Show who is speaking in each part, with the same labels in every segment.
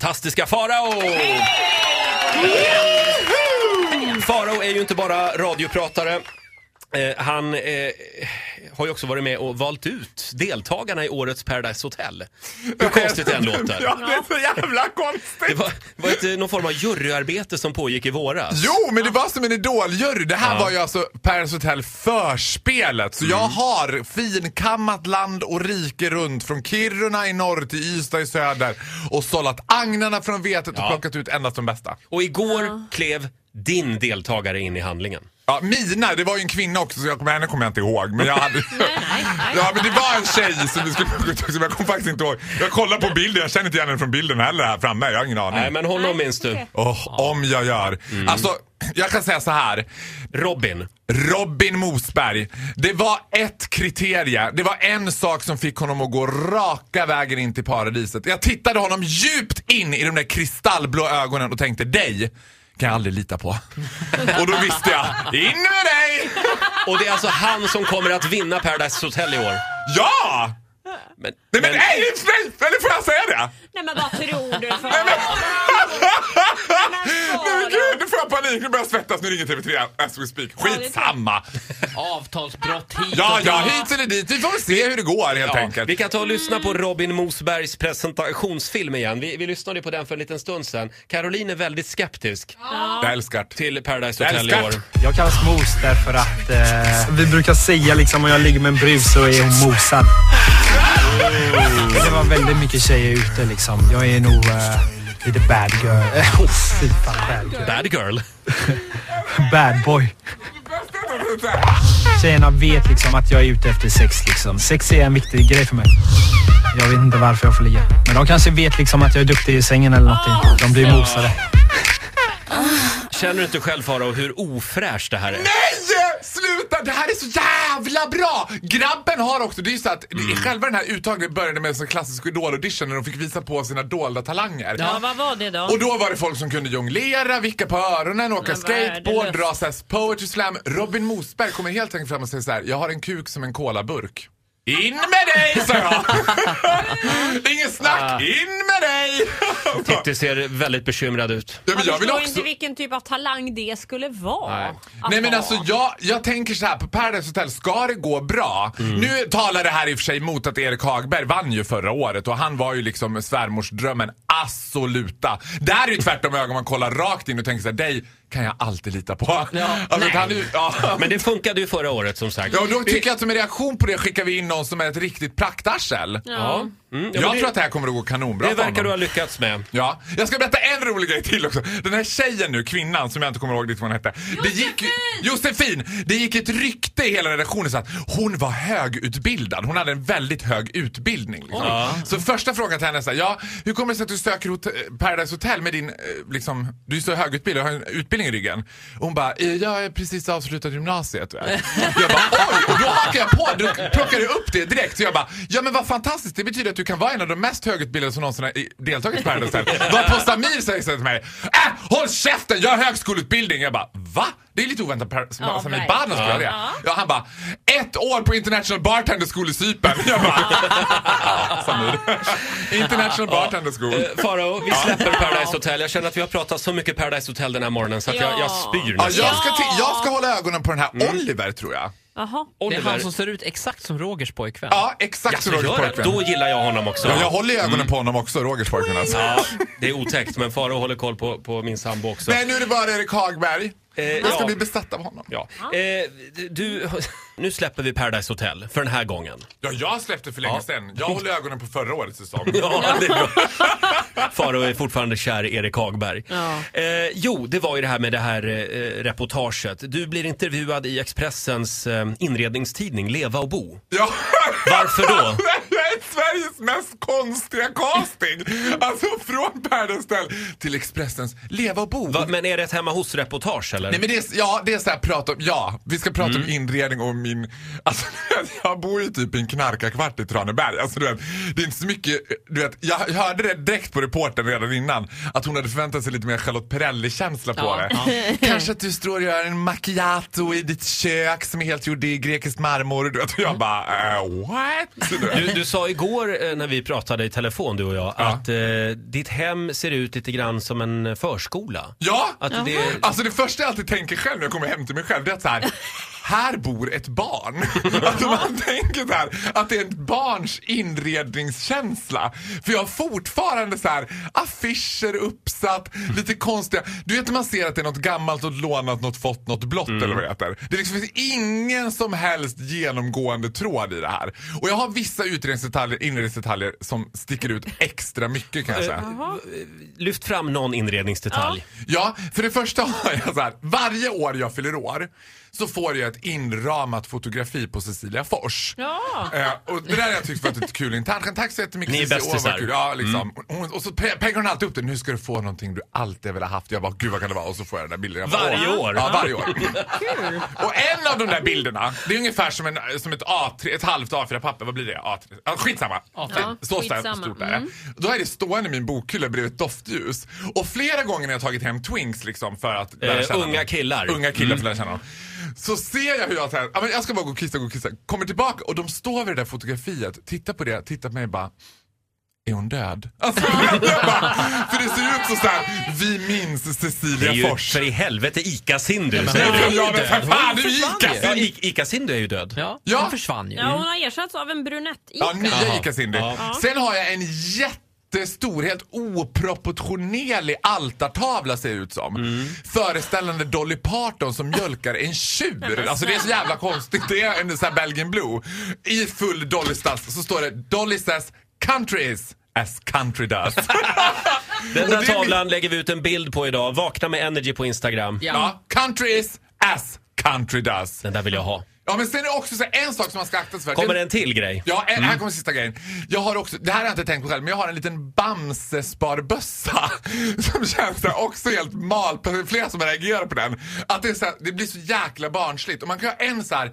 Speaker 1: fantastiska Farao! Farao är ju inte bara radiopratare. Eh, han eh, har ju också varit med och valt ut deltagarna i årets Paradise Hotel. Hur konstigt det än låter.
Speaker 2: Ja, det är så jävla
Speaker 1: Det
Speaker 2: konstigt.
Speaker 1: var, var ett, eh, någon form av juryarbete som pågick i våras.
Speaker 2: Jo, men det var som en idoljury. Det här var ju alltså Paradise Hotel förspelet. Så
Speaker 1: Mm.
Speaker 2: jag har finkammat land och rike runt från Kiruna i norr till Ystad i söder och sållat agnarna från vetet och
Speaker 1: Ja.
Speaker 2: plockat ut endast de bästa.
Speaker 1: Och igår klev din deltagare in i handlingen.
Speaker 2: Ja, Mina, det var ju en kvinna också så jag kommer, henne kommer jag inte ihåg. Men jag hade... ja, men det var en tjej som vi skulle plocka ut också, men jag kommer faktiskt inte ihåg. Jag kollar på bilden, jag känner inte igen henne från bilden heller här framme. Jag har ingen aning.
Speaker 1: Nej, men honom minns du.
Speaker 2: Åh, om jag gör.
Speaker 1: Mm.
Speaker 2: Alltså, jag kan säga så här.
Speaker 1: Robin.
Speaker 2: Robin Mosberg. Det var ett kriterie. Det var en sak som fick honom att gå raka vägen in till paradiset. Jag tittade honom djupt in i de där kristallblå ögonen och tänkte dig kan jag aldrig lita på. och då visste jag, in med dig!
Speaker 1: Och det är alltså han som kommer att vinna Paradise Hotel i år.
Speaker 2: Ja!
Speaker 1: Men,
Speaker 2: Nej men, nej, nej, eller får jag säga det?
Speaker 3: Nej men vad tror du? För...
Speaker 2: Nej men gud, nu får jag panik, nu börjar jag svettas, nu ringer TV3 as we speak. Skitsamma!
Speaker 4: Avtalsbrott hit och
Speaker 2: Ja,
Speaker 4: dit.
Speaker 2: ja, hit eller dit, vi får väl se hur det går helt
Speaker 1: ja,
Speaker 2: enkelt.
Speaker 1: vi kan ta och lyssna på Robin Mosbergs presentationsfilm igen. Vi, vi lyssnade på den för en liten stund sedan. Caroline är väldigt skeptisk
Speaker 2: Jag älskar det.
Speaker 1: till Paradise Hotel i
Speaker 2: Älskar.
Speaker 1: år.
Speaker 5: Jag kallas Mos därför att eh, vi brukar säga liksom om jag ligger med en brud så är hon mosad. Det var väldigt mycket tjejer ute liksom. Jag är nog eh, lite bad girl. Eh, Oh, fy fan, bad girl.
Speaker 1: Bad girl.
Speaker 5: Bad boy. Tjejerna vet liksom att jag är ute efter sex liksom. Sex är en viktig grej för mig. Jag vet inte varför jag får ligga. Men de kanske vet liksom att jag är duktig i sängen eller någonting. De blir mosade.
Speaker 1: Känner du inte själv Farao hur ofräscht det här är?
Speaker 2: Nej! Sluta! Det här är så jävla bra! Grabben har också, det är ju så att
Speaker 4: Mm.
Speaker 2: själva den här uttagningen började med en sån klassisk idol-audition när de fick visa på sina dolda talanger.
Speaker 4: Ja, vad var det då?
Speaker 2: Och då var det folk som kunde jonglera, vicka på öronen, åka
Speaker 4: Men vad är det
Speaker 2: skateboard,
Speaker 4: lust?
Speaker 2: dra såhär poetry slam. Robin Mosberg kommer helt enkelt fram och säger så här: jag har en kuk som en colaburk. In med dig, sa jag! Ingen
Speaker 4: Ah.
Speaker 2: snack, in med dig!
Speaker 1: Titti ser väldigt bekymrad ut.
Speaker 2: Ja,
Speaker 3: Man
Speaker 2: men jag vill
Speaker 3: förstår
Speaker 2: också...
Speaker 3: inte vilken typ av talang det skulle vara.
Speaker 1: Nej.
Speaker 3: att
Speaker 2: Nej men
Speaker 3: ha.
Speaker 2: alltså jag, jag tänker så här på Paradise Hotel, ska det gå bra?
Speaker 1: Mm.
Speaker 2: Nu talar det här i och för sig mot att Erik Hagberg vann ju förra året och han var ju liksom svärmorsdrömmen absoluta. Där är ju tvärtom ögon man kollar rakt in och tänker så här, dig kan jag alltid lita på. alltså,
Speaker 1: nej.
Speaker 2: Han är, ju- ja.
Speaker 1: Men det funkade ju förra året som sagt.
Speaker 2: ja, och då tycker jag att som en reaktion på det skickar vi in någon som är ett riktigt praktarsel.
Speaker 1: Ja. Mm, ja, men
Speaker 2: Jag
Speaker 1: det,
Speaker 2: tror att det här kommer att gå kanonbra
Speaker 1: det
Speaker 2: för
Speaker 1: verkar
Speaker 2: honom.
Speaker 1: du ha lyckats med. Eh,
Speaker 2: Ja, jag ska berätta en rolig grej till också. Den här tjejen nu, kvinnan som jag inte kommer ihåg riktigt vad hon hette. Det gick, Josefin! Det gick ett rykte i hela redaktionen så att hon var högutbildad. Hon hade en väldigt hög utbildning. Liksom. Så första frågan till henne är så här, ja, hur kommer det sig att du söker hot Paradise Hotel med din, eh, liksom, du är så högutbildad och har en utbildning i ryggen? Och hon bara, eh, jag är precis avslutat gymnasiet. va?" Jag bara, oj! Och då hakar jag på, då plockar jag upp det direkt. Så jag bara, ja men vad fantastiskt, det betyder att du kan vara en av de mest högutbildade som någonsin har i- deltagit i Paradise Hotel. Varpå Samir säger så här till mig, äh, håll käften, jag har högskoleutbildning. Jag bara, va? Det är lite oväntat per- som
Speaker 3: Ja,
Speaker 2: Samir
Speaker 3: verkligen.
Speaker 2: Badran skulle ha det. Ja, han bara, ett år på International Bartender School i Cypern. Jag bara, ja, Samir. International Bartender School.
Speaker 1: Eh, Farao, vi släpper Paradise Hotel. Jag känner att vi har pratat så mycket Paradise Hotel den här morgonen så att jag, jag spyr
Speaker 2: Ja, Mm.
Speaker 1: nästan.
Speaker 2: jag, ska till- jag ska hålla ögonen på den här Oliver tror jag.
Speaker 3: Jaha.
Speaker 4: Det är
Speaker 1: Oliver.
Speaker 4: han som ser ut exakt som Rogers pojkvän.
Speaker 2: Ja, exakt
Speaker 1: Jaså,
Speaker 2: som Rogers
Speaker 1: gör det?
Speaker 2: pojkvän.
Speaker 1: Då gillar jag honom också.
Speaker 2: Ja, jag Mm. håller ögonen på honom också, Rogers pojkvän alltså.
Speaker 1: Ja, det är otäckt, men Farao håller koll på, på min sambo också.
Speaker 2: Nej, nu är det bara Erik Hagberg.
Speaker 1: Eh,
Speaker 2: Jag ska
Speaker 1: ja.
Speaker 2: bli besatt av honom.
Speaker 1: Ja. Eh, du, nu släpper vi Paradise Hotel för den här gången.
Speaker 2: Ja, jag släppte för länge
Speaker 1: Ja.
Speaker 2: sedan. Jag håller ögonen på förra årets säsong.
Speaker 1: Ja, det är bra. Farao är fortfarande kär i Erik Hagberg. Eh, jo, det var ju det här med det här eh, reportaget. Du blir intervjuad i Expressens eh, inredningstidning Leva och bo.
Speaker 2: Ja.
Speaker 1: Varför då?
Speaker 2: Jag är Sveriges mest konstiga casting! Alltså från Paradise Hotel till Expressens Leva och bo.
Speaker 1: Va, men är det ett hemma hos-reportage eller?
Speaker 2: Nej men det är, ja, det är så här, prata om, ja, vi ska prata
Speaker 1: Mm.
Speaker 2: om inredning och min, alltså jag bor ju typ i en knarkarkvart i Traneberg. Alltså du vet, det är inte så mycket, du vet, jag hörde det direkt på reportern redan innan, att hon hade förväntat sig lite mer Charlotte Perrelli-känsla på
Speaker 4: Ja,
Speaker 2: det. Kanske att du står och gör en macchiato i ditt kök som är helt gjord i grekisk marmor. Du vet, och jag bara, eh, "Äh, what? Du vet.
Speaker 1: Du, du sa sa igår eh, när vi pratade i telefon du och jag att eh, ditt hem ser ut lite grann som en förskola.
Speaker 2: Ja!
Speaker 1: Att det,
Speaker 2: Alltså det första jag alltid tänker själv när jag kommer hem till mig själv det är att så här, här bor ett barn. Att man tänker så här, att det är ett barns inredningskänsla. För jag har fortfarande så här, affischer uppsatt, lite konstiga. Du vet när man ser att det är något gammalt, något lånat, något fått, något blått eller vad det heter. Det liksom finns ingen som helst genomgående tråd i det här. Och jag har vissa utredningsdetaljer, inredningsdetaljer som sticker ut extra mycket kan jag säga.
Speaker 1: eh, lyft fram någon inredningsdetalj.
Speaker 2: Ja, för det första har jag så här. Varje år jag fyller år så får jag ett inramat fotografi på Cecilia Fors.
Speaker 3: Ja.
Speaker 2: Eh, och det där har jag tyckt varit ett kul internt. Tack så jättemycket
Speaker 1: Ni är
Speaker 2: Cecilia, åh, vad
Speaker 1: bästisar. Mm.
Speaker 2: kul. Ja, liksom. Hon- och så pe- pengar hon alltid upp det. Nu ska du få någonting du alltid har velat haft. Jag bara, gud vad kan det vara? Och så får jag den där bilden. Jag bara,
Speaker 1: Varje
Speaker 2: åh.
Speaker 1: år?
Speaker 2: Ja, varje år. och en av de där bilderna, det är ungefär som, en, som ett, A3, ett halvt A4-papper. Vad blir det? A3. Ah, skitsamma.
Speaker 3: Ja,
Speaker 2: så
Speaker 3: skitsamma.
Speaker 2: stort är det. Då är det stående i min bokhylla bredvid ett doftljus. Och flera gånger när jag tagit hem Twinks liksom för att lära
Speaker 1: Eh,
Speaker 2: känna
Speaker 1: unga
Speaker 2: dem.
Speaker 1: killar. Mm.
Speaker 2: Unga killar för att lära känna dem. Så ser jag hur jag säger, ja men jag ska bara gå och kissa, gå och kissa. Kommer tillbaka och de står vid det där fotografiet, tittar på det, tittar på mig och bara är hon död? Alltså, jag bara, för det ser ut som såhär, vi minns
Speaker 1: Det
Speaker 2: Cecilia
Speaker 1: är ju
Speaker 2: Fors.
Speaker 1: för i helvete ICA-Sindu säger du.
Speaker 2: Ja men för fan, det är ju
Speaker 4: Hon
Speaker 2: Ica!
Speaker 4: försvann
Speaker 1: Ja,
Speaker 2: Cindy.
Speaker 1: I- ICA-Sindu är ju död.
Speaker 4: Ja,
Speaker 2: Ja.
Speaker 4: hon försvann ju.
Speaker 3: Ja, hon har ersatts av en brunett
Speaker 2: Mm. Ja, nya
Speaker 1: Jaha.
Speaker 2: Ica Cindy.
Speaker 1: Ja.
Speaker 2: Sen har jag en jättestor, helt oproportionerlig altartavla ser det ut som.
Speaker 1: Mm.
Speaker 2: Föreställande Dolly Parton som mjölkar en tjur. Alltså det är så jävla konstigt. Det är en sån här Belgian Blue. I full Dolly Stas så står det Dolly says country is as country does.
Speaker 1: Den där
Speaker 2: Och det är
Speaker 1: tavlan lägger vi ut en bild på idag. Vakna med Energy på Instagram.
Speaker 4: Ja.
Speaker 2: Ja, country is as country does.
Speaker 1: Den där vill jag ha.
Speaker 2: Ja men sen är det också så här, en sak som man ska akta sig för.
Speaker 1: Kommer det en till grej?
Speaker 2: Ja, en,
Speaker 1: Mm.
Speaker 2: här kommer sista grejen. Jag har också, det här har jag inte tänkt på själv, men jag har en liten Bamse-sparbössa som känns där också helt mal. Det är Flera som reagerar på den. Att det, är så här, det blir så jäkla barnsligt. Och man kan ha en så här...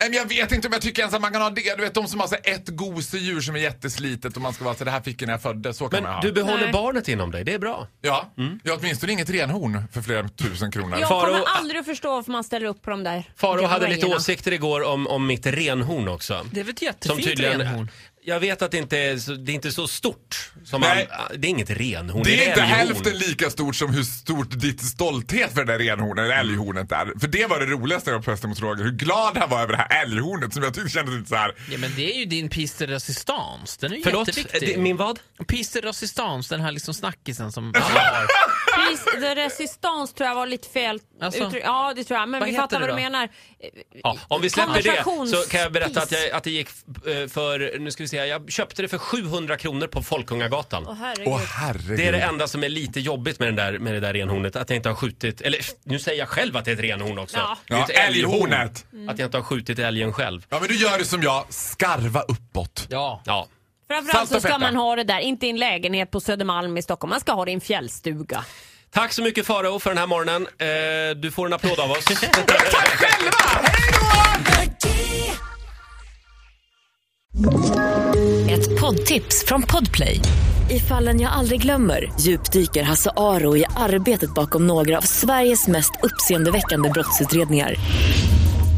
Speaker 2: "Nej, men Jag vet inte om jag tycker ens att man kan ha det. Du vet de som har så här ett gosedjur som är jätteslitet och man ska vara så här, det här fick jag när jag föddes. Så kan
Speaker 1: Men
Speaker 2: man ha.
Speaker 1: du Mm. behåller
Speaker 3: Nej.
Speaker 1: barnet inom dig, det är bra.
Speaker 2: Ja, jag har åtminstone inget renhorn för flera tusen kronor.
Speaker 3: Jag
Speaker 1: Faro-
Speaker 3: kommer aldrig att förstå varför man ställer upp på de där
Speaker 1: Faro hade lite
Speaker 3: grejerna.
Speaker 1: åsikter igår om, om mitt renhorn också.
Speaker 4: Det är väl ett jättefint renhorn?
Speaker 1: Jag vet att det inte är så, det är inte så stort. Som
Speaker 2: Nej.
Speaker 1: man, det är inget renhorn.
Speaker 2: Det är inte
Speaker 1: älghorn.
Speaker 2: hälften lika stort som hur stort ditt stolthet för det där renhornet, eller älghornet är. För det var det roligaste jag pressade mot Roger, hur glad han var över det här älghornet som jag tyckte kändes lite så här.
Speaker 4: Ja, men det är ju din piste resistance. Den är ju
Speaker 1: Förlåt?
Speaker 4: jätteviktig.
Speaker 1: Eh, det- Min vad?
Speaker 4: Piste resistance, den här liksom snackisen som...
Speaker 3: Pris de resistance tror jag var lite fel
Speaker 4: Alltså?
Speaker 3: uttryck. Ja, det tror jag. Men
Speaker 4: Vad
Speaker 3: vi
Speaker 4: heter
Speaker 3: fattar
Speaker 4: det
Speaker 3: vad du
Speaker 4: då?
Speaker 3: menar.
Speaker 1: Ja, om vi släpper det så kan jag berätta att,
Speaker 3: Konversationspris.
Speaker 1: jag, att det gick eh, för, nu ska vi se, jag köpte det för 700 kronor på Folkungagatan.
Speaker 3: Åh herregud.
Speaker 2: Åh herregud.
Speaker 1: Det är det enda som är lite jobbigt med, den där, med det där renhornet, att jag inte har skjutit, eller nu säger jag själv att det är ett renhorn också.
Speaker 3: Ja.
Speaker 1: Det är
Speaker 2: Ja,
Speaker 1: ett älghorn. Mm.
Speaker 2: älghornet.
Speaker 1: Att jag inte har skjutit älgen själv.
Speaker 2: Ja men du gör det som jag, skarva uppåt.
Speaker 4: Ja.
Speaker 1: Ja.
Speaker 3: Framförallt
Speaker 2: Salt
Speaker 3: så
Speaker 2: och
Speaker 3: ska
Speaker 2: peppa.
Speaker 3: man ha det där, inte i en lägenhet på Södermalm i Stockholm. Man ska ha det i en fjällstuga.
Speaker 1: Tack så mycket Farao för den här morgonen. Eh, du får en applåd av oss.
Speaker 2: Tack själva! Hej då!
Speaker 6: Ett poddtips från Podplay. I fallen jag aldrig glömmer djupdyker Hasse Aro i arbetet bakom några av Sveriges mest uppseendeväckande brottsutredningar.